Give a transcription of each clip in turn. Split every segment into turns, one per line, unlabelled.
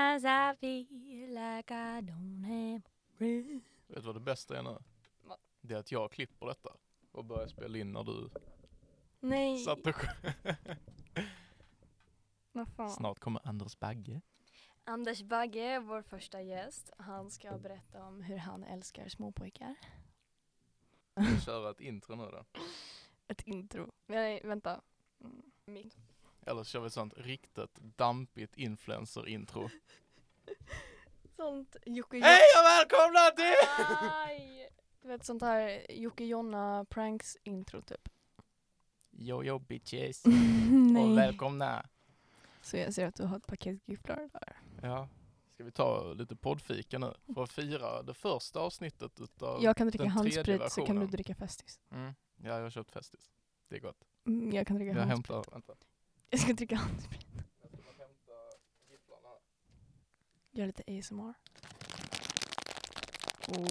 I feel like I don't have room.
Vet du vad det bästa är nu?
Vad?
Det är att jag klipper detta och börjar spela in när du
Nej,
satt och
vad fan.
Snart kommer Anders Bagge.
Anders Bagge, vår första gäst, han ska berätta om hur han älskar småpojkar.
Vi kör ett intro nu då.
Ett intro. Nej, vänta. Mm.
Eller kör vi ett sånt riktigt dampigt influencer-intro.
Sånt Jocke
Hej och välkomna till!
Ah. Aj! Du vet sånt här Jocke Jonna pranks intro typ.
Yo yo bitches och
Nej.
välkomna.
Så jag ser att du har ett paket gifflar där.
Ja. Ska vi ta lite poddfika nu för att fira det första avsnittet utav...
Jag kan dricka
den tredje
handsprit så kan du
versionen.
dricka Festis.
Mm. Ja, jag har köpt Festis. Det är gott.
Mm, jag kan dricka
Jag
handsprit.
hämtar, vänta.
Jag ska dricka handsprit.
Jag ska bara hämta gifflarna här.
Gör lite ASMR. Oh.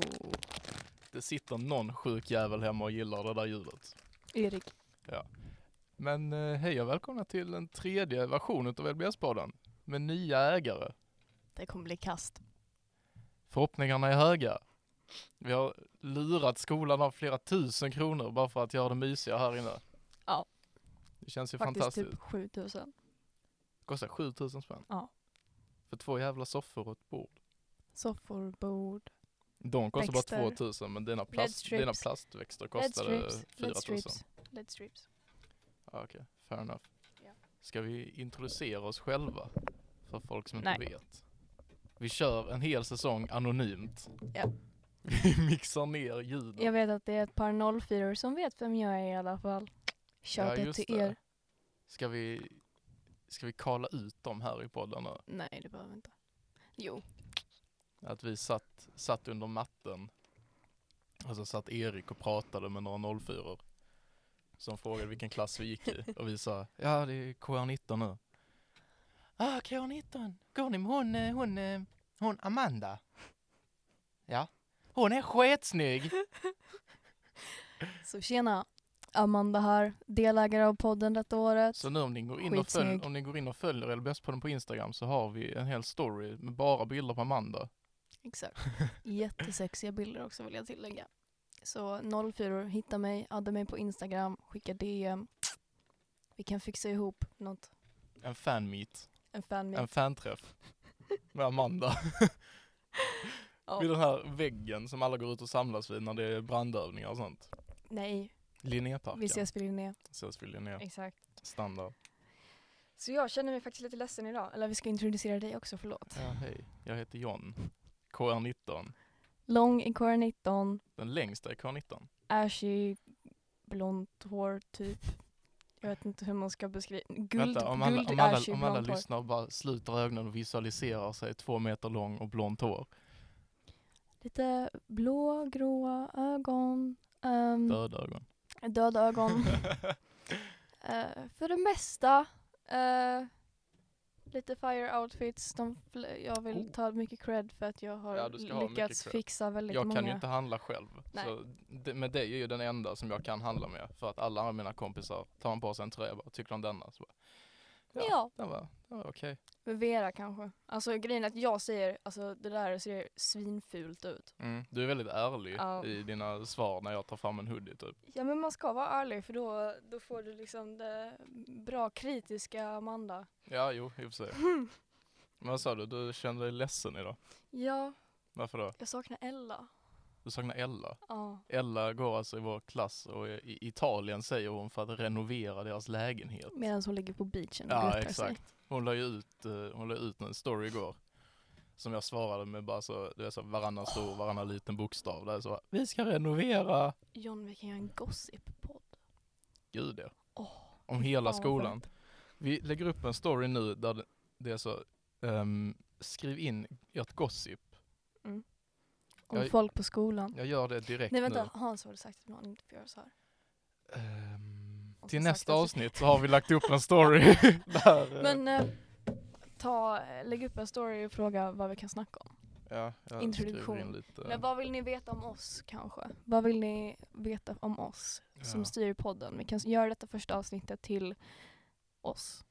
Det sitter någon sjuk jävel hemma och gillar det där ljudet.
Erik.
Men eh, hej och välkomna till den tredje versionen av LBS-podden med nya ägare.
Det kommer bli kast.
Förhoppningarna är höga. Vi har lurat skolan av flera tusen kronor bara för att göra det mysiga här inne.
Ja.
Det känns ju
Faktiskt
fantastiskt.
typ 7000.
Kostar 7000 spänn.
Ja.
För två jävla soffor och ett bord.
Soffor, bord.
De kostar
Växter.
bara 2000 men dina, plast,
strips.
dina plastväxter kostade 4000.
Led strips.
Ja, Ah, Okej, fair enough.
Ja.
Ska vi introducera oss själva? För folk som inte
Nej.
vet. Vi kör en hel säsong anonymt.
Ja.
Vi mixar ner ljuden.
Jag vet att det är ett par 04 som vet vem jag är i alla fall. Shout out
just
till er.
Ska vi, ska vi kalla ut dem här i podden nu?
Nej, det behöver vi inte. Jo.
Att vi satt, satt under matten. Och så satt Erik och pratade med några 04 Som frågade vilken klass vi gick i. Och vi sa, ja det är KR19 nu. Ah, KR19, går ni med hon, eh, hon, eh, hon Amanda? Ja. Hon är sketsnygg!
Så tjena. Amanda här, delägare av podden detta året.
Så nu om ni går in och, följ,
Skitsnygg.
om ni går in och följer LBS-podden på Instagram så har vi en hel story med bara bilder på Amanda.
Exakt. Jättesexiga bilder också vill jag tillägga. Så 04 hitta mig, adda mig på Instagram, skicka DM. Vi kan fixa ihop något.
En fanmeet.
En fanmeet.
En fanträff med Amanda.
Ja.
Vid den här väggen som alla går ut och samlas vid när det är brandövningar och sånt.
Nej,
Linnéparken.
vi ses vid E. Linné.
ses vid Linné.
Exakt.
Standard.
Så jag känner mig faktiskt lite ledsen idag. Eller vi ska introducera dig också, förlåt.
Ja, hej. Jag heter John. KR19.
Lång i kår 19,
Den längsta är KR19.
ashy, blont hår typ. Jag vet inte hur man ska beskriva. Guld,
Vänta, om alla,
guld
om alla,
ashy,
om alla
blont hår.
lyssnar och bara sluter ögonen och visualiserar sig två meter lång och blont hår.
Lite blå, gråa ögon. ehm,
Döda ögon.
döda ögon. Eh, för det mesta. eh, lite fire outfits. De, fl- jag vill
Oh.
ta mycket cred för att jag har
Ja, du ska ha mycket
lyckats
cred.
fixa väldigt
Jag
många.
kan ju inte handla själv.
Nej.
Så det, med dig är ju den enda som jag kan handla med. För att alla mina kompisar tar man på sig en tröja bara, tycker de denna? Så bara,
Ja.
Den var, den var okej.
Med Vera kanske. Alltså grejen är att jag säger, alltså det där ser svinfult ut.
Mm. Du är väldigt ärlig
Ja.
i dina svar när jag tar fram en hoodie typ.
Ja men man ska vara ärlig för då, då får du liksom det bra kritiska Amanda.
Ja, jo, i och för sig. Men vad sa du? Du kände dig ledsen idag.
Ja,
Varför då?
jag saknar Ella.
Du saknar Ella.
Ja.
Ella går alltså i vår klass och är i Italien säger hon för att renovera deras lägenhet.
Medan hon ligger på beachen och
Ja,
guttar sig.
exakt. Hon la ju ut, eh, hon la ut en story igår. Som jag svarade med bara så, du vet så varannan stor, varannan liten bokstav där så bara, Vi ska renovera!
John, vi kan göra en gossip-podd.
Gud ja.
Åh,
Om hela
fan vad
skolan. Vi lägger upp en story nu där det- det är så, ehm, skriv in ert gossip.
Om
Jag-
folk på skolan.
Jag gör det direkt
Nej vänta,
nu.
Hans har sagt att man inte får göra så här.
Ehm,
Och
till
så
nästa
sakta-
avsnitt så har vi lagt upp en story där. eh,
Men eh, ta, lägg upp en story och fråga vad vi kan snacka om.
ja, jag
introduktion.
skriver in lite.
Men vad vill ni veta om oss kanske? Vad vill ni veta om oss som
Ja.
styr podden? Vi kan s- göra detta första avsnittet till oss.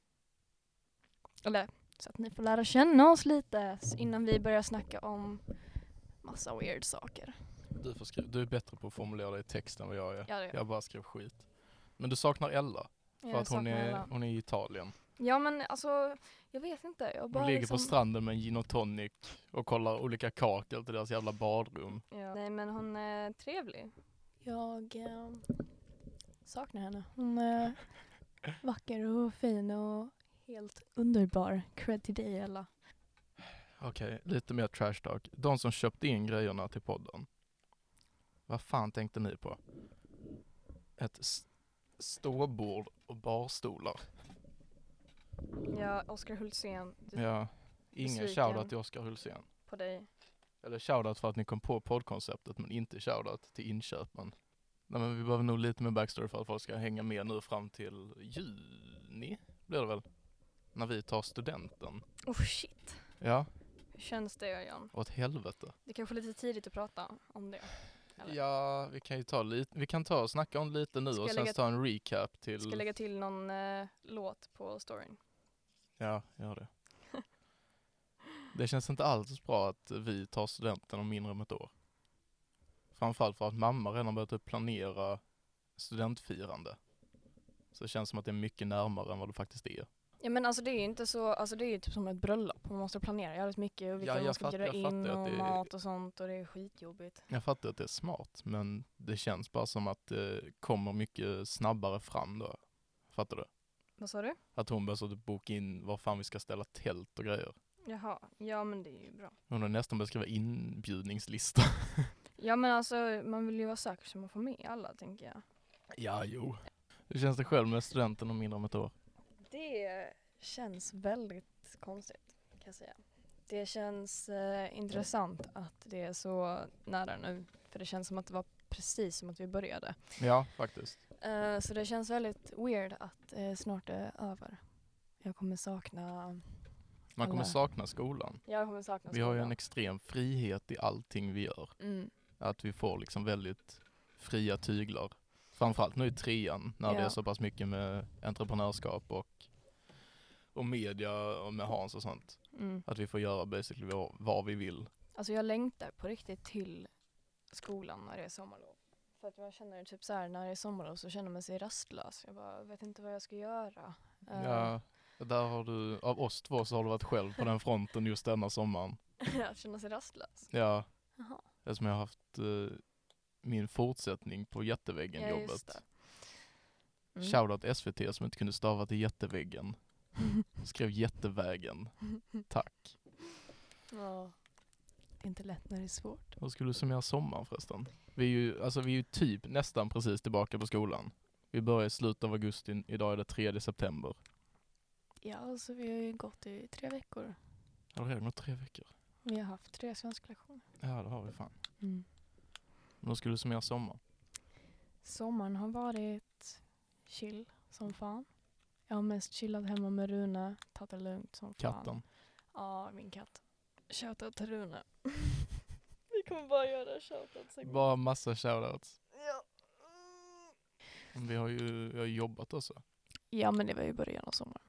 Eller Så att ni får lära känna oss lite s- innan vi börjar snacka om massa weird saker.
Du, får skriva, du är bättre på att formulera dig i text än vad jag är.
Ja, det gör jag.
Jag bara skrev skit. Men du saknar Ella, för
Jag
att hon
saknar
är,
alla.
hon är i Italien.
Ja men alltså, jag vet inte. Jag bara
Hon ligger
liksom...
på stranden med en gin och tonic och kollar olika kakel till deras jävla badrum.
Ja. Nej men hon är trevlig. Jag eh, saknar henne. Hon är vacker och fin och helt underbar. Cred till dig Ella.
Okej, lite mer trash talk. De som köpte in grejerna till podden. Vad fan tänkte ni på? Ett s- ståbord och barstolar.
Ja, Oskar Hultzén,
Ja, ingen
Besviken.
shoutout till Oskar Hulsén.
på dig.
Eller shoutout för att ni kom på poddkonceptet men inte shoutout till inköpen. Nej men vi behöver nog lite mer backstory för att folk ska hänga med nu fram till juni blir det väl? När vi tar studenten.
Oh shit.
Ja,
Hur känns det Jan?
åt helvete.
Det är kanske är lite tidigt att prata om det. Eller?
Ja, vi kan ju ta lite, vi kan ta och snacka om lite nu
Ska
och
jag
sen
lägga-
ta en recap till...
Ska jag lägga till någon eh, låt på storyn?
Ja, gör det. det känns inte alls bra att vi tar studenten om mindre än ett år. Framförallt för att mamma redan har börjat typ planera studentfirande. Så det känns som att det är mycket närmare än vad det faktiskt är.
Ja men alltså det är ju inte så, alltså det är ju typ som ett bröllop. Man måste planera jävligt mycket och vilka
Ja, jag
man ska
fattar-
bjuda
jag fattar
in
att
och
det är-
mat och sånt och det är skitjobbigt.
Jag fattar att det är smart, men det känns bara som att det kommer mycket snabbare fram då. Fattar du?
Vad sa du?
Att hon börjar så att boka in var fan vi ska ställa tält och grejer.
Jaha, ja men det är ju bra.
Hon har nästan börjat skriva inbjudningslista.
Ja men alltså man vill ju vara säker så man får med alla tänker jag.
ja, jo. Hur känns det själv med studenten om mindre än ett år?
Det känns väldigt konstigt kan jag säga. Det känns eh, intressant att det är så nära nu. För det känns som att det var precis som att vi började.
Ja, faktiskt.
Eh, så det känns väldigt weird att eh, snart det är över. Jag kommer sakna...
Man kommer
Alla.
sakna skolan.
Jag kommer sakna
Vi har ju en
skolan.
extrem frihet i allting vi gör.
Mm.
Att vi får liksom väldigt fria tyglar. Framförallt nu i trean när det
Ja.
är så pass mycket med entreprenörskap och, och media och med Hans och sånt.
Mm.
Att vi får göra basically vad, vad vi vill.
Alltså jag längtar på riktigt till skolan när det är sommarlov. För att jag känner typ så här när det är sommarlov så känner man sig rastlös. Jag bara vet inte vad jag ska göra. Eh,
Ja, där har du, av oss två så har du varit själv på den fronten just denna sommaren.
att känna sig rastlös.
Ja,
Jaha.
eftersom jag har haft eh, min fortsättning på
Ja,
jätteväggen-jobbet.
just det. Mm.
Shoutout SVT som inte kunde stava till jätteväggen. Skrev jättevägen. Tack.
Ja. Det är inte lätt när det är svårt.
Hur skulle du summera sommaren förresten? Vi är ju, alltså, vi är ju typ nästan precis tillbaka på skolan. Vi börjar i slutet av augusti, idag är det 3 september.
Ja, alltså vi har ju gått i tre veckor.
Har det redan gått tre veckor?
Vi har haft tre svenska lektioner.
Ja, det har vi fan.
Mm.
Men hur skulle du summera sommaren?
Sommaren har varit chill som fan. Jag har mest chillat hemma med Rune, tagit det lugnt som fan.
Katten.
Ja, min katt. Shoutout till Rune. Vi kommer bara göra shoutouts en gång.
Bara massa shoutouts.
Ja. Mm.
Men Vi har ju vi har ju jobbat också.
ja, men det var ju början av sommaren.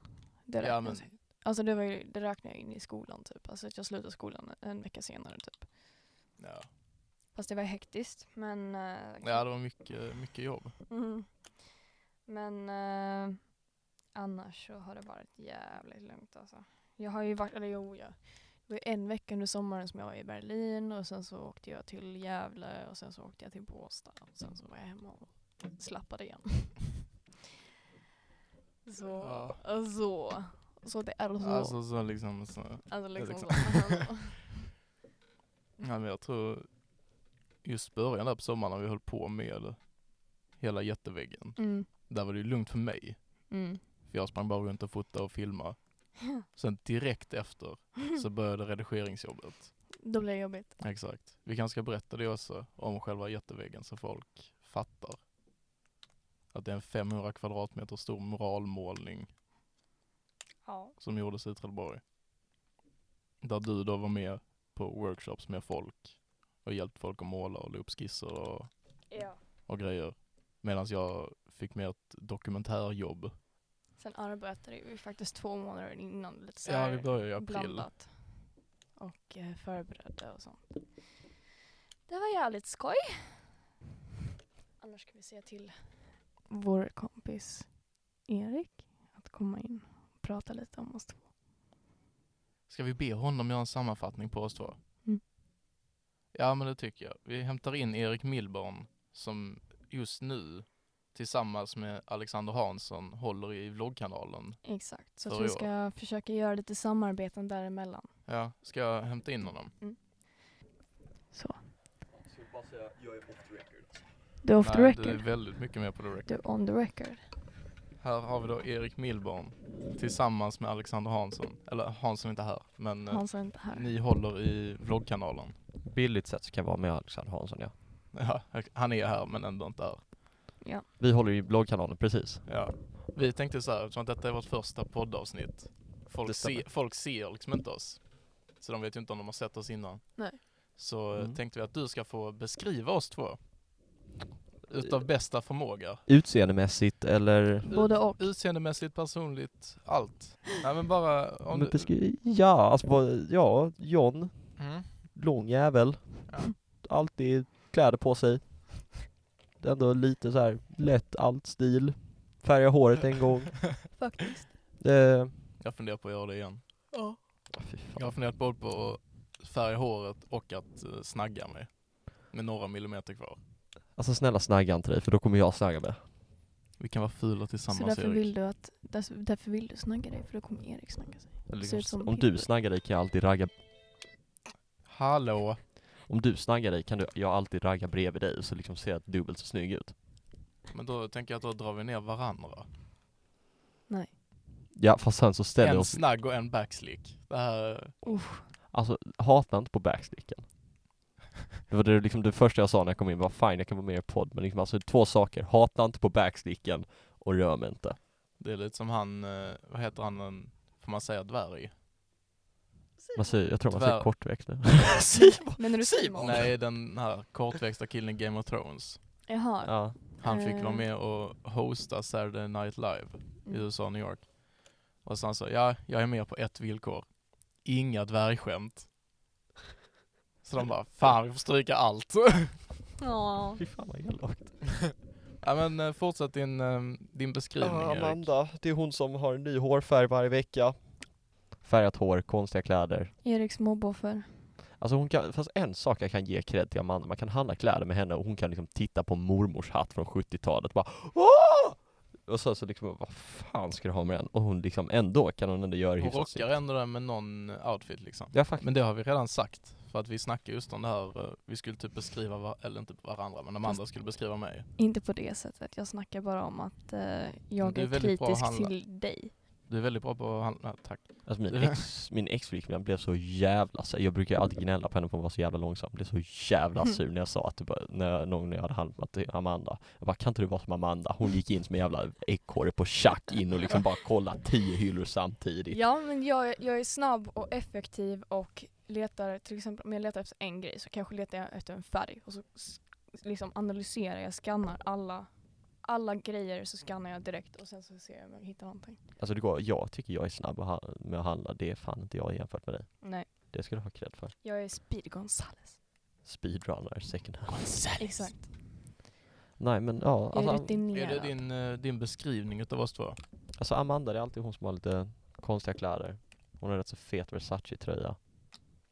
Det
Ja,
räknas.
men-
Alltså det, var ju, det räknar jag in i skolan typ. Alltså att jag slutade skolan en vecka senare typ.
Ja,
Fast det var hektiskt, men... eh,
ja det var mycket, mycket jobb.
Mm. Men eh, annars så har det varit jävligt lugnt alltså. Jag har ju varit, eller jo jag, det var ju en vecka under sommaren som jag var i Berlin och sen så åkte jag till Gävle och sen så åkte jag till Båstad och sen så var jag hemma och slappade igen. så,
Ja.
och så, så det är så. Alltså,
Alltså så liksom så.
liksom
liksom.
så.
Ja, men jag tror just början där på sommaren när vi höll på med hela jätteväggen.
mm,
Där var det ju lugnt för mig.
mm.
För jag sprang bara runt och fotade och filmade. Sen direkt efter så började redigeringsjobbet.
Då blir det jobbigt.
Exakt. Vi kanske ska berätta det också om själva jätteväggen så folk fattar. Att det är en 500 kvadratmeter stor muralmålning
Ja.
som gjordes i Trelleborg. Där du då var med på workshops med folk och hjälpt folk att måla och la upp skisser och
ja.
och grejer. Medan jag fick med ett dokumentärjobb
Sen arbetade vi faktiskt två månader innan. Lite så
Ja,
här
vi började i april.
blandat. Och eh, förberedde och sånt. Det var jävligt skoj. Annars ska vi säga till vår kompis Erik att komma in och prata lite om oss två.
Ska vi be honom göra en sammanfattning på oss två?
Mm.
Ja, men det tycker jag. Vi hämtar in Erik Milborn som just nu tillsammans med Alexander Hansson håller i vloggkanalen.
Exakt, så
Så
att vi
ja.
ska försöka göra lite samarbeten däremellan.
Ja, ska jag hämta in honom?
Så.
Ska vi bara säga, jag är off the record. alltså.
Du är off the
Nej, du är
record.
väldigt mycket mer på the record.
Du är on the record.
Här har vi då Erik Milborn tillsammans med Alexander Hansson. Eller Hansson är inte här, men eh,
Han sa inte här.
ni håller i vloggkanalen.
Billigt sett så kan jag vara med Alexander Hansson ja.
Ja, han är här men ändå inte här.
Vi håller ju bloggkanalen precis.
Ja. Vi tänkte så här, eftersom att detta är vårt första poddavsnitt.
Det
Folk,
stämmer.
se, folk ser liksom inte oss. Så de vet ju inte om de har sett oss innan.
Nej.
Så eh,
Mm. Eh.
tänkte vi att du ska få beskriva oss två. Utav bästa förmåga.
Utseendemässigt eller?
Både och.
Utseendemässigt, personligt, allt. Nej men bara om
Men
du...
beskri- ja, alltså vad- ja, John,
Mm.
lång jävel.
Ja.
Alltid kläder på sig. Ändå lite så här lätt allt stil. Färga håret en gång.
Faktiskt.
Eh,
Jag funderar på att göra det igen.
Ja.
fy fan.
Jag har funderat både på att färga håret och att eh, snagga mig. Med några millimeter kvar.
Alltså snälla snagga inte dig för då kommer jag snagga mig.
Vi kan vara fula
Så
tillsammans
därför vill, du att, därför, därför vill du snagga dig, för då kommer Erik snagga sig.
Eller
Ser
Liksom,
ut som
om du
Pippi.
snaggar dig kan jag alltid ragga
Hallå!
Om du snaggar dig kan du, jag alltid ragga bredvid dig så liksom ser jag dubbelt så snygg ut.
Men då tänker jag att då drar vi ner varandra.
Nej.
Ja fast sen så ställer jag
En
oss,
snagg och en backslick. Det här,
alltså hata inte på backsticken. Det var det, liksom det första jag sa när jag kom in, var fine jag kan vara med i podd men liksom alltså två saker, hata inte på backsticken och rör mig inte.
det är lite som han, eh, vad heter han, en- får man säga dvärg?
Man säger, jag tror man
Tyvärr.
säger kortväxt nu.
Men när du Simon?
Nej, den här kortväxta killen i Game of Thrones.
Jaha.
ja.
Han fick
Eh.
vara med och hosta Saturday Night Live i
Mm.
USA, New York. Och sen så, ja, jag är med på ett villkor. Inga dvärgskämt. Så de bara, fan vi får stryka allt.
Ja.
Fy fan vad elakt.
ja men eh, fortsätt din, eh, din beskrivning Erik.
det är hon som har en ny hårfärg varje vecka. Färgat hår, konstiga kläder.
Eriks mobboffer.
Alltså hon kan, fast en sak jag kan ge cred till Amanda, man kan handla kläder med henne och hon kan liksom titta på mormors hatt från 70-talet och bara Åh! Och så, så liksom, vad fan ska du ha med den? Och hon liksom, ändå kan hon ändå göra det
Hon
hyfsat
rockar ändå den med någon outfit liksom.
Ja faktiskt.
Men det har vi redan sagt, för att vi snackade just om det här, eh, vi skulle typ beskriva, var- eller inte varandra, men de
Fast-
andra skulle beskriva mig.
Inte på det sättet. Jag snackar bara om att eh, jag
Du är
är,
väldigt bra att
kritisk
handla.
till dig.
Du är väldigt bra på att handla, tack.
Alltså min ex, min exflickvän blev så jävla sur. Jag brukar alltid gnälla på henne för att hon var så jävla långsam. Blev så jävla
Mm.
sur när jag sa att, du bara- när jag, någon gång när jag hade handlat till Amanda. Jag bara, kan inte du vara som Amanda? Hon gick in som en jävla ekorre på tjack in och liksom bara kollade tio hyllor samtidigt.
Ja, men jag, jag är snabb och effektiv och letar, till exempel om jag letar efter en grej så kanske letar jag efter en färg och så s- liksom analyserar jag, skannar alla, alla grejer så skannar jag direkt och sen så ser jag om jag hittar någonting.
Alltså det går, jag tycker jag är snabb att ha- med att handla, det är fan inte jag jämfört med dig.
Nej,
Det ska du ha cred för.
jag är Speed Gonzales.
Speedrunner second hand.
Exakt.
Nej men ja,
Jag är
alltså,
Är
rutinerad.
det din, eh, din beskrivning utav oss två?
alltså Amanda det är alltid hon som har lite konstiga kläder. Hon har rätt så fet Versace-tröja.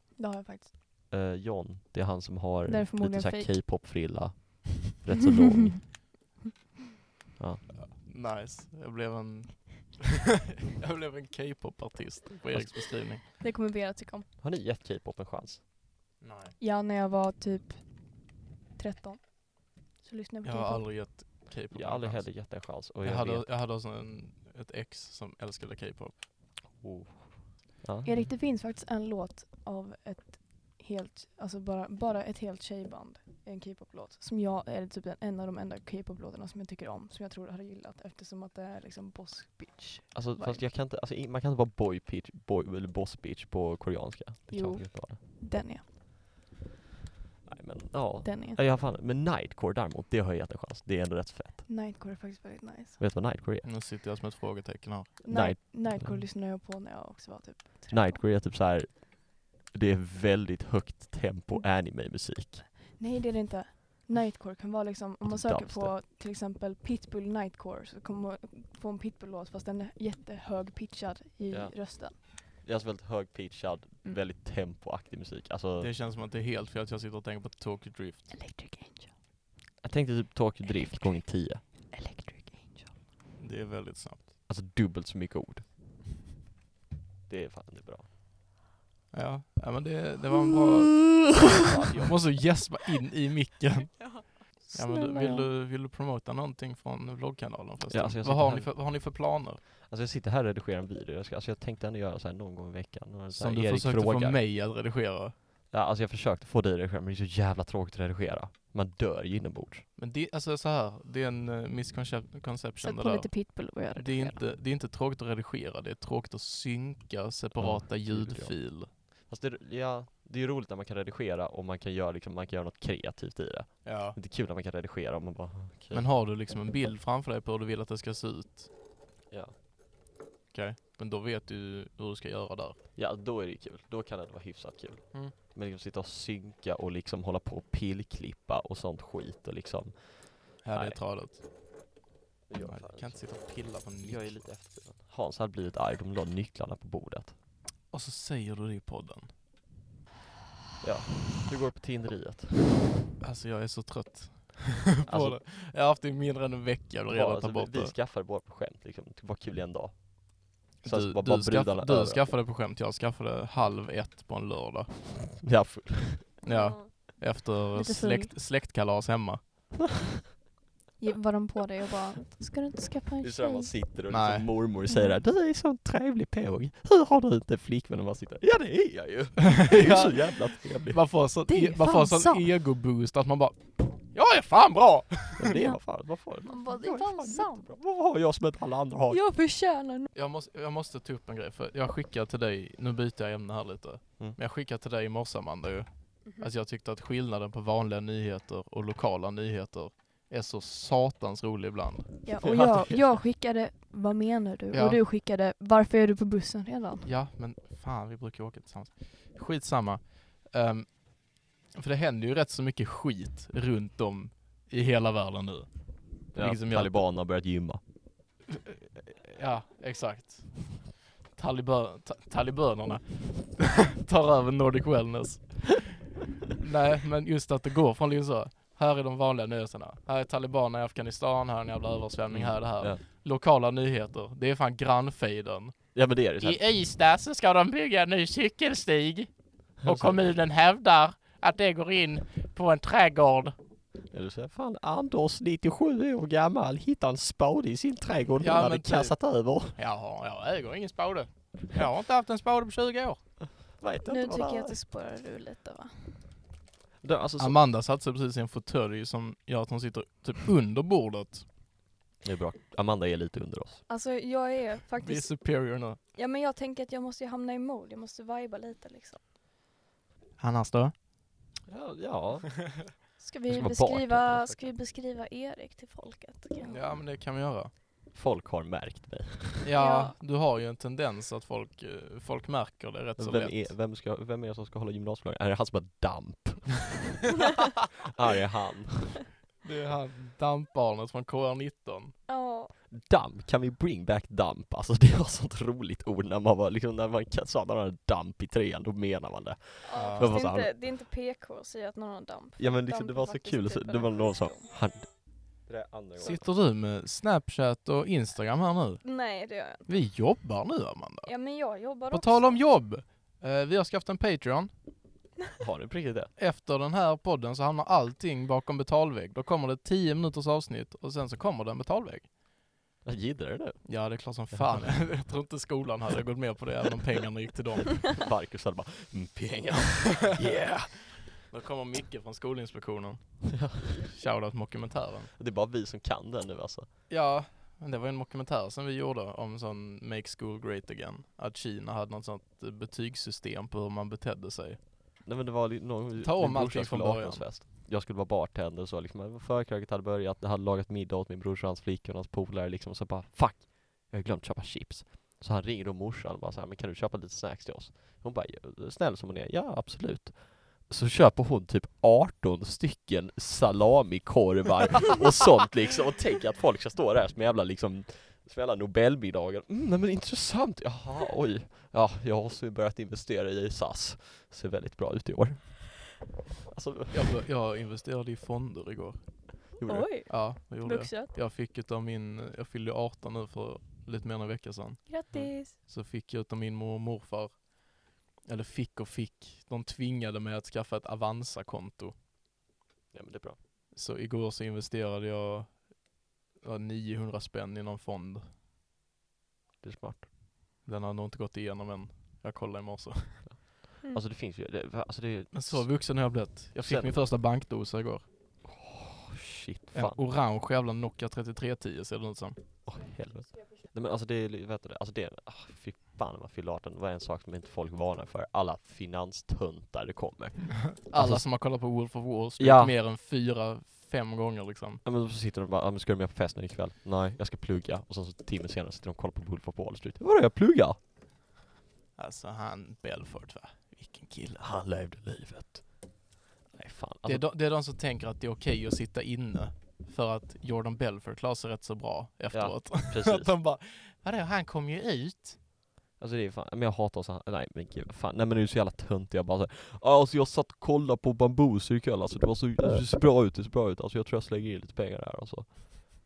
Det har jag faktiskt.
Eh, John, det är han som har
Den är förmodligen
lite såhär
fake.
K-pop-frilla. Rätt så lång.
Nice, jag blev en jag blev en K-pop-artist på Eriks beskrivning.
Det kommer Vera tycka om.
Har ni gett K-pop en chans?
Nej.
Ja, när jag var typ 13. Så lyssnade
Jag
jag på
har
K-pop.
aldrig gett K-pop
Jag har
en
aldrig
chans.
heller gett en chans. Och
alltså. jag,
jag,
hade,
vet,
jag hade också en, ett ex som älskade K-pop.
oh. ja.
Erik, det finns faktiskt en låt av ett helt, alltså bara, bara ett helt tjejband, en K-pop-låt, som jag är typ den- en av de enda K-pop-låtarna som jag tycker om, som jag tror du hade gillat eftersom att det är liksom boss bitch.
Alltså,
vibe.
fast jag kan inte, alltså, i- man kan inte vara boy pitch, boy, eller boss bitch på koreanska. Det
Jo.
kan man inte vara.
Den är,
Nej men ja.
den är.
Ja, jag har fan, men Nightcore däremot, det har jag gett en chans. Det är ändå rätt fett.
Nightcore är faktiskt väldigt nice.
Vet du vad Nightcore är?
Nu sitter jag som ett frågetecken här.
Night,
Night-
Nightcore lyssnade jag på när jag också var typ 13.
Nightcore är typ så här. det är väldigt högt tempo
Mm.
anime-musik.
Nej det är det inte. Nightcore kan vara liksom, om man
Typ
söker
dubstep.
på till exempel pitbull nightcore så kommer man få en pitbull-låt fast den är jättehögpitchad i
Ja.
rösten.
Det är alltså väldigt högpitchad,
Mm.
väldigt tempoaktig musik. Alltså,
Det känns som att det är helt fel att jag sitter och tänker på Tokyo Drift.
Electric Angel.
jag tänkte typ Tokyo Drift gånger 10.
Electric Angel.
Det är väldigt snabbt.
Alltså dubbelt så mycket ord. Det är fan inte bra.
Ja, ja men det, det var en bra... Fan, Jag måste gäspa in i micken. Ja, men du, vill, du, vill du promota någonting från vloggkanalen förresten?
Ja, alltså jag
vad,
sitter
har
här-
ni för, vad har ni för planer?
Alltså jag sitter här och redigerar en video, jag, ska, alltså jag tänkte ändå göra så här någon gång i veckan. Och så här,
Som du
Alltså, Erik
försökte
frågar.
få mig att redigera.
Ja, alltså jag försökte få dig att redigera, men det är så jävla tråkigt att redigera. Man dör ju inombords.
Men det, alltså så här, det är en eh, misconception
Sätt
det
på
där.
lite pitbull och jag
Det är, inte, det är inte tråkigt att redigera, det är tråkigt att synka separata
gud, ja.
ljudfiler.
Fast det, ja, det är ju roligt när man kan redigera och man kan göra, liksom, man kan göra något kreativt i det.
Ja.
Men Det är kul när man kan redigera och man bara, okej.
Men har du liksom en bild framför dig på hur du vill att det ska se ut,
Ja.
okej? Men då vet du hur du ska göra där.
ja, då är det ju kul. Då kan det vara hyfsat kul.
Mm.
Men liksom sitta och synka och liksom hålla på och pillklippa och sånt skit och liksom.
Här är
Nej.
tradigt.
det gör
Man
fan
kan inte
inte.
sitta och pilla på en mick.
Jag är lite efterbliven. Hans hade blivit arg, de la nycklarna på bordet.
Och så säger du det i podden.
Ja, hur går det på tinderiet?
Alltså jag är så trött. på
Alltså-
det. Jag har haft det i mindre än en vecka, jag vill
Bara,
redan
alltså,
ta
vi-
bort
Vi
det.
skaffade bara på skämt liksom, det var kul i en dag. Så
Du,
att bara-
du,
bara brudarna
skaff, du
överallt.
skaffade det på skämt, jag skaffade halv ett på en lördag.
Ja, full.
Ja. Efter
Lite full.
släkt, släktkalas hemma.
Var de på dig och bara, ska du inte skaffa
Det är
en
så
tjej?
där
Mm.
man sitter och
Nej.
liksom mormor säger där, du är sån trevlig påg. Hur har du inte en flickvän? Och man sitter, ja det är jag ju. Jag är så jävla trevlig.
Man får sån,
Det är
e- man får
fan
sån
sant.
ego-boost att man bara Jag är fan bra!
Men det är fan, vad fan.
Man bara, det är
jag
fan
fan
sant.
jättebra. Vad har jag som inte alla andra har?
Jag förtjänar no-
Jag måste, jag måste ta upp en grej, för jag skickade till dig, nu byter jag ämne här lite. Men jag skickade till dig i morse Amanda
Mm.
ju, att jag tyckte att skillnaden på vanliga nyheter och lokala nyheter är så satans rolig ibland.
ja, och jag, jag skickade, vad menar du?
Ja.
Och du skickade, varför är du på bussen redan?
Ja, men fan vi brukar åka tillsammans. Skitsamma. Um, för det händer ju rätt så mycket skit runt om i hela världen nu.
Ja,
Liksom jag-
Talibanerna har börjat gymma.
Ja, exakt. Talibö- ta- talibanerna tar över Nordic Wellness. Nej, men just att det går från liksom så. Här är de vanliga nyheterna. Här är talibaner i Afghanistan, här är en jävla översvämning, här är det här.
Mm, Ja.
Lokala nyheter, det är fan grannfejden.
Ja men det är det. Så här,
I Ystad så ska de bygga en ny cykelstig och
så här-
kommunen hävdar att det går in på en trädgård.
Eller så här, fan Anders 97 år gammal hittar en spade i sin trädgård
Ja,
hon hade
men typ.
kastat över.
Ja, jag äger ingen spade. Jag har inte haft en spade på 20 år.
Vet inte
Nu
vad
tycker
det
jag att
är.
det spårar ur lite va?
Det- alltså, så-
Amanda satte sig precis i en fåtölj som gör att hon sitter typ under bordet.
Det är bra. Amanda är lite under oss.
Alltså jag är
Vi är
faktiskt,
superior nu.
ja men jag tänker att jag måste ju hamna i mode, jag måste viba lite liksom.
Annars då?
Ja, ja.
Ska
Jag
vi,
ska vara
beskriva,
bartender.
ska vi beskriva Erik till folket? kanske?
Ja men det kan vi göra.
folk har märkt mig.
Ja,
Ja.
du har ju en tendens att folk, eh, folk märker det rätt så
Vem
lätt.
är, vem, ska, vem är det som ska hålla gymnasielagen? Är det han som har damp? Ja det är han.
Det är han dampbarnet från KR19.
Ja,
Damp, kan vi bring back damp? Alltså det var sånt roligt ord när man var liksom, när man sa att man hade damp i trean, då menar man det.
ja.
Vad
fast Det,
fan
är
sa
inte, det är inte PK att säga att någon har damp.
Ja men liksom
Damp
det
är
var så
faktiskt
kul,
typ
så,
en
det var någon som,
sjukdom.
han... Det där andra
Sitter du med Snapchat och Instagram här nu?
Nej det gör jag inte.
Vi jobbar nu Amanda.
Ja men jag jobbar
På
också.
tal om jobb. eh, vi har skaffat en Patreon.
Har du på riktigt det?
Efter den här podden så hamnar allting bakom betalvägg. Då kommer det 10 minuters avsnitt och sen så kommer det en betalvägg.
Jag gillar det nu.
Ja det är klart som fan. Jag tror inte skolan hade gått med på det även om pengarna gick till dem.
Marcus hade bara, mm, pengar.
Yeah! Då kommer Micke från Skolinspektionen. Shoutout mockumentären.
Det är bara vi som kan den nu alltså.
Ja, men det var ju en mockumentär som vi gjorde om sån Make School Great Again. Att Kina hade något sånt betygssystem på hur man betedde sig.
Nej men det var li- någon,
Ta om
min brorsa
allting från
skulle ha
början.
18-årsfest. Jag skulle vara bartender så liksom, förkröket hade börjat, jag hade lagat middag åt min brorsa och hans flickor och hans polare liksom, så bara fuck! Jag har glömt köpa chips. Så han ringer då morsan och bara så här, men kan du köpa lite snacks till oss? Hon bara, "Ja, snäll som hon är, ja absolut. Så köper hon typ 18 stycken salamikorvar och sånt liksom och tänker att folk ska stå där som jävla liksom som jävla Nobelmiddagar. Mm, nej men intressant, jaha oj. Ja, jag har också börjat investera i SAS. Ser väldigt bra ut i år. Alltså,
Jag, bör- jag investerade i fonder igår.
gjorde du?
Oj,
Ja, det gjorde jag.
vuxet.
Jag fick utav min, jag fyllde 18 nu för lite mer än en vecka sedan.
Grattis.
Så fick jag utav min mor och morfar, eller fick och fick, de tvingade mig att skaffa ett Avanza-konto.
Ja men det är bra.
Så igår så investerade jag ja, 900 spänn i någon fond.
Det är smart.
Den har nog inte gått igenom än. Jag kollade i morse.
Mm.
Alltså det finns ju, det, alltså det är,
Men så vuxen har jag blivit. Jag fick
Sen-
min första bankdosa igår.
oh, shit
En
fan.
orange jävla Nokia 3310 ser det ut som.
Åh helvete. Nej men alltså det är, li- vet du det, alltså det, är- ah, fy fan när man fyller 18, det var en sak som inte folk varnar för, alla finanstöntar det kommer.
Alla
Alltså-
som har kollat på Wolf of Wall Street
Ja.
mer än fyra, fem gånger liksom.
Ja men så sitter de bara, ja, men ska du med på festen ikväll? Nej, jag ska plugga. Och sen så timmen senare sitter de och kollar på Wolf of Wall Street. Vadå jag pluggar?
Alltså han Belfort va? Vilken kille.
Han levde livet. Nej fan.
Det, är
Alltså,
de, det är de som tänker att det är okej att sitta inne för att Jordan Belfort klarar sig rätt så bra efteråt. att
precis.
de bara, vadå han kom ju ut.
Alltså det är fan, men jag hatar så här. nej men gud fan, nej men det är så jävla tönt jag bara såhär Alltså jag satt och kollade på bambus ikväll alltså, det var så, alltså, det ser bra ut, det ser bra ut, alltså jag tror jag slänger in lite pengar där och så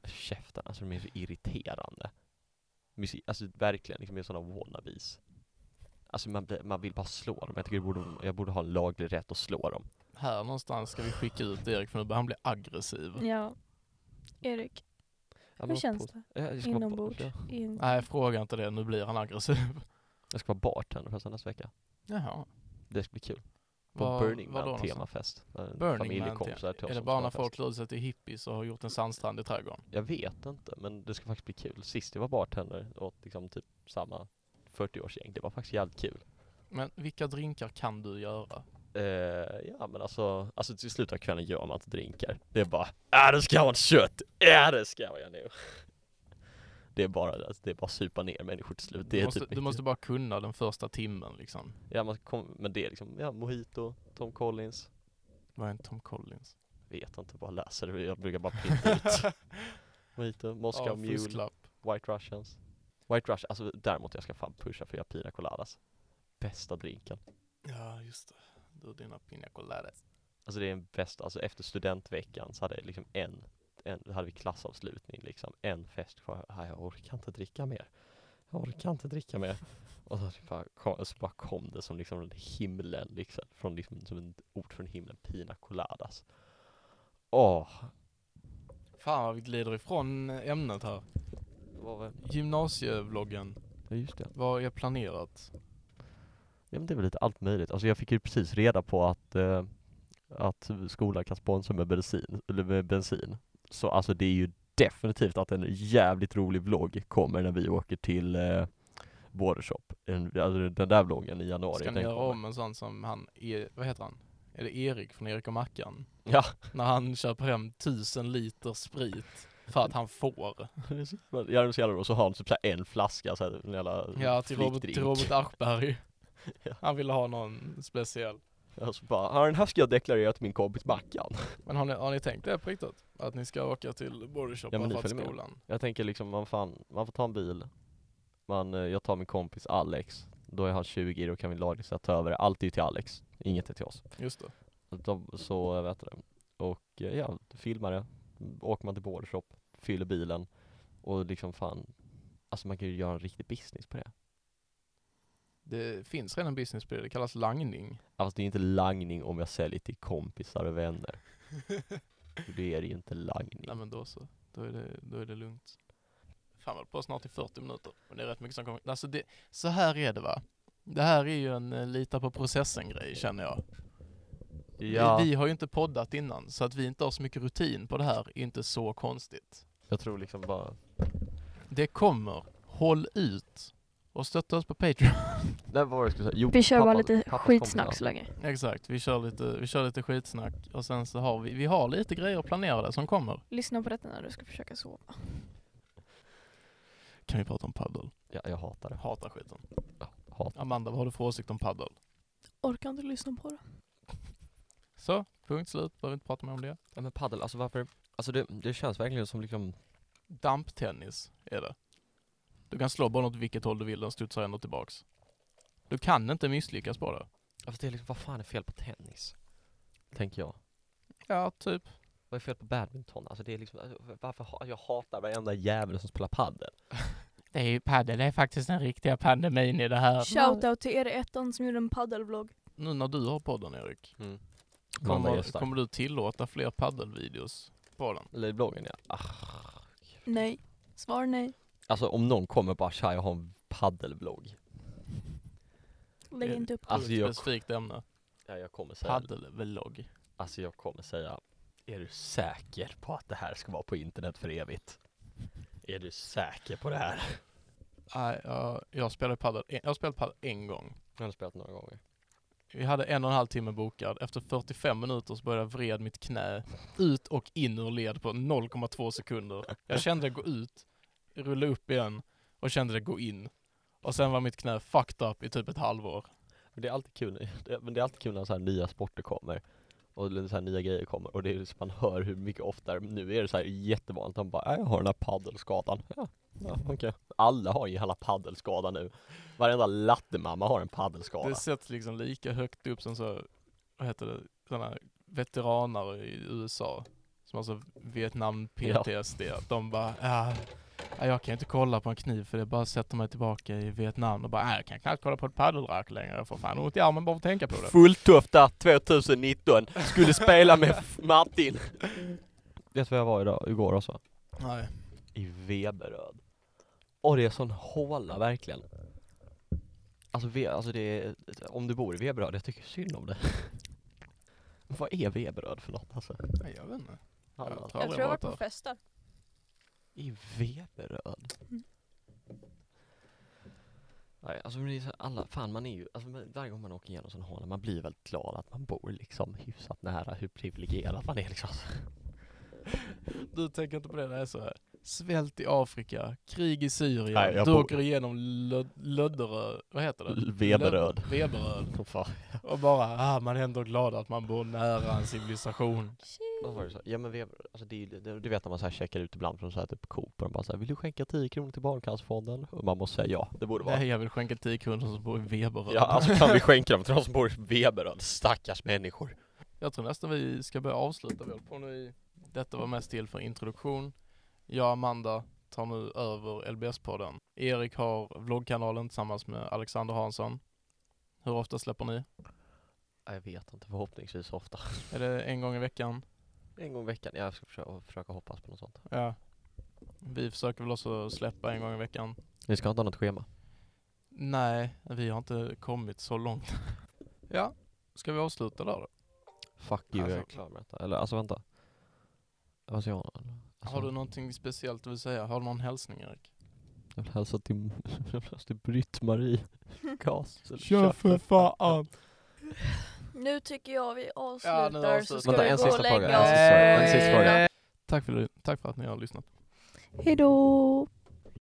Käften, alltså de är så irriterande De är så- Alltså verkligen, liksom de är sådana wannabes Alltså man, blir- man vill bara slå dem, jag tycker jag borde, jag borde ha en laglig rätt att slå dem
Här någonstans ska vi skicka ut Erik för nu börjar han bli aggressiv.
Mm.
Ja. Erik,
Ja, men
hur
vad
känns
på-
det?
Ja, jag ska vara-
Inombords?
ja.
In...
Nej fråga inte det, nu blir han aggressiv.
Jag ska vara bartender förresten nästa vecka,
Jaha.
det ska bli kul På
Var-
Burning
var då
Man
någonstans?
temafest
Burning Man
Familjekompisar till oss
Är det
som
bara
ska
när
ha fest.
folk klär sig till hippies och har gjort en sandstrand i trädgården?
Jag vet inte, men det ska faktiskt bli kul. Sist jag var bartender åt liksom typ samma 40-årsgäng, det var faktiskt jävligt kul.
Men vilka drinkar kan du göra?
Eh, ja men alltså, alltså till slut av kvällen gör man inte drinkar. Det är bara, ja det ska vara ett kött, ja det ska jag nu. Det är bara, alltså, det är bara supa ner människor till slut. Det
du,
är
måste,
typ
du
mitt-
måste bara kunna den första timmen liksom.
Ja man kom, men det är liksom, ja mojito, Tom Collins.
Vad är en Tom Collins?
Vet inte, bara läser det. Jag brukar bara printa ut. mojito, Moscow
Ja,
Mule.
fusklapp.
White Russians White Russians, alltså däremot jag ska fan pusha för jag har pina coladas Bästa drinken
Ja, just det. Du och dina pina coladas.
Alltså det är den bästa, alltså efter studentveckan så hade jag liksom en, en då hade vi klassavslutning liksom, en fest kvar, Nej, jag orkar inte dricka mer Jag orkar inte dricka mer Och så typ bara kom, så bara kom det som liksom från himlen liksom, från liksom, som en ord från himlen, pina coladas Åh,
Fan vad vi glider ifrån ämnet här.
vad var
Gymnasievloggen,
Ja just det
vad är planerat?
Ja men det är väl lite allt möjligt. Alltså jag fick ju precis reda på att, eh, att skolan kan sponsra med bensin, eller med bensin. Så alltså det är ju definitivt att en jävligt rolig vlogg kommer när vi åker till eh, Bordershop. En, alltså den där vloggen i januari.
Ska ni
den
göra
kommer.
om en sån som han, E- vad heter han? Är det Erik från Erik och Mackan?
Ja.
När han köper hem tusen liter sprit för att han får.
Det är så jävla- Ja, det är så jävla roligt. Så har han typ så här en flaska så här, en jävla
Ja, till Robert,
flickdrink.
till Robert Aschberg.
Ja.
Han ville ha någon speciell.
Och så bara, "Ja, den här ska jag deklarera till min kompis Mackan.
Men har ni, har ni tänkt det på riktigt? Att ni ska åka till Bordershop
Ja, men
ja,
ni
för att
följer med.
skolan?
Jag tänker liksom, man, fan, man får ta en bil. Man, eh, jag tar min kompis Alex. Då är han 20, då kan vi lagligt ta över. Allt är ju till Alex, inget är till oss.
Just det.
De, så, jag vet det. Och eh, ja, filmar det. Åker man till Bordershop, fyller bilen. Och liksom fan, alltså man kan ju göra en riktig business på det.
Det finns redan en business på det, det kallas langning.
Alltså det är inte langning om jag säljer till kompisar och vänner. Det är ju inte
Nej
langning.
men då så, då är det, då är det lugnt. Fan vad på snart i 40 minuter och det är rätt mycket som kommer. Alltså det, så här är det va. Det här är ju en eh, lita på processen grej känner jag. Vi, vi har ju inte poddat innan så att vi inte har så mycket rutin på det här är inte så konstigt.
jag tror liksom bara
Det kommer. Håll ut. och stötta oss på Patreon.
Nej, vad var det jag skulle säga? Jo,
Vi kör bara
pappa-
lite
pappas
skitsnack
kompis.
så länge.
Exakt, vi kör, lite, vi kör lite skitsnack och sen så har vi, vi har lite grejer planerade som kommer.
Lyssna på detta när du ska försöka sova.
Kan vi prata om paddel?
Ja, jag hatar det.
Hatar skiten.
Hat.
Amanda, vad har du för åsikt om paddel?
Orkar inte lyssna på det.
Så, punkt slut, behöver inte prata mer om det.
Ja, men paddel, alltså varför? Alltså det, det känns verkligen som liksom
Damptennis är det. Du kan slå bollen åt vilket håll du vill, den studsar ändå tillbaks. Du kan inte misslyckas på det.
Alltså det är liksom, vad fan är fel på tennis? Tänker jag.
Ja, typ.
Vad är fel på badminton? Alltså det är liksom, alltså, varför ha, jag hatar varenda jävel som spelar padel.
Det är ju paddel, det är faktiskt den riktiga pandemin i det här.
Shoutout till er i ettan som gjorde en paddelvlogg.
Nu när du har podden Erik,
Mm.
kommer, kommer du tillåta fler paddelvideos på den?
Eller i bloggen ja. Ah.
Nej. Svar nej.
Alltså om någon kommer bara tja jag har en paddelblogg.
Lägg
Eh,
inte upp.
Alltså,
Alltså,
jag-
specifikt ämne.
Ja jag kommer säga,
Paddelvlogg.
alltså jag kommer säga, är du säker på att det här ska vara på internet för evigt? Är du säker på det här?
Nej, jag, jag spelade padel, jag har spelat padel en gång.
Jag har spelat några gånger.
Vi hade en och en halv timme bokad. Efter 45 minuter så började jag vred mitt knä ut och in ur led på 0,2 sekunder. Jag kände det gå ut, rulla upp igen och kände det gå in. Och sen var mitt knä fucked up i typ ett halvår.
Men det är alltid kul, det, men det är alltid kul när så här nya sporter kommer och lite så här nya grejer kommer och det är så man hör hur mycket oftare, nu är det så här jättevanligt, de bara "Ja, jag har den här paddelskadan. Ja, ja okej. Alla har ju hela paddelskada nu. Varenda lattemamma har en paddelskada.
Det sätts liksom lika högt upp som så, vad heter det, sådana veteranare i USA. Som alltså Vietnam-PTSD. Att De bara, ah, ah, jag kan inte kolla på en kniv för det bara sätter mig tillbaka i Vietnam. Och bara, ah, jag kan knappt kolla på ett paddelrack längre. Jag får fan ont i armen bara för att tänka på det.
Fulltofta 2019 skulle spela med F- Martin. Vet du vad jag var idag, igår alltså? också?
Nej.
I Veberöd. Och det är sån håla verkligen. Alltså, ve, alltså det är, om du bor i Veberöd, jag tycker synd om det. vad är Veberöd för något alltså?
Nej, jag vet inte.
Hallå.
Jag
Jag
aldrig
tror jag var
varit
på
där.
festen.
I Veberöd?
Mm.
Nej, alltså men det är så, alla, fan man är ju, alltså man, varje gång man åker igenom sån håla, man blir väldigt glad att man bor liksom hyfsat nära hur privilegierad man är liksom.
Du tänker inte på det, det är så här. Svält i Afrika, krig i Syrien,
Nej, jag
du
bor-
åker igenom Lö- Lödderö, vad heter det?
L- Veberöd.
Löd- Veberöd.
Som fan.
Och bara, ah, man är ändå glad att man bor nära en civilisation.
Vad var det så? Ja men Veberöd, alltså det är ju, det, du vet när man så här checkar ut ibland från så här typ Coop och de bara så här, vill du skänka 10 kronor till Barncancerfonden? Och man måste säga ja, det borde vara.
Nej, jag vill skänka 10 kronor som bor i Veberöd.
Ja, alltså kan vi skänka dem till de som bor i Veberöd? Stackars människor.
Jag tror nästan vi ska börja avsluta. Vi har hållit på nu i, detta var mest till för introduktion. Jag och Amanda tar nu över LBS-podden. Erik har vloggkanalen tillsammans med Alexander Hansson. Hur ofta släpper ni?
Ja, Jag vet inte, förhoppningsvis så ofta.
Är det en gång i veckan?
En gång i veckan, jag ska försöka, försöka hoppas på något sånt.
Ja. Vi försöker väl också släppa en gång i veckan.
Ni ska inte ha något schema?
Nej, vi har inte kommit så långt. ja, ska vi avsluta där då?
Fuck you,
Alltså-
jag är klar med detta. Eller alltså vänta. Vad ska jag ha? Alltså,
Har du någonting speciellt du vill säga? Har du någon hälsning Erik?
Jag vill hälsa till, jag vill hälsa till Britt-Marie Gas.
Nu tycker jag vi
Ja,
avslutar
nu
så
avslutar
ska
vi.
vi
Vänta,
gå
en
och
sista fråga,
lägga
en
oss.
sista fråga, en sista fråga.
Tack för, tack för att ni har lyssnat.
Hejdå!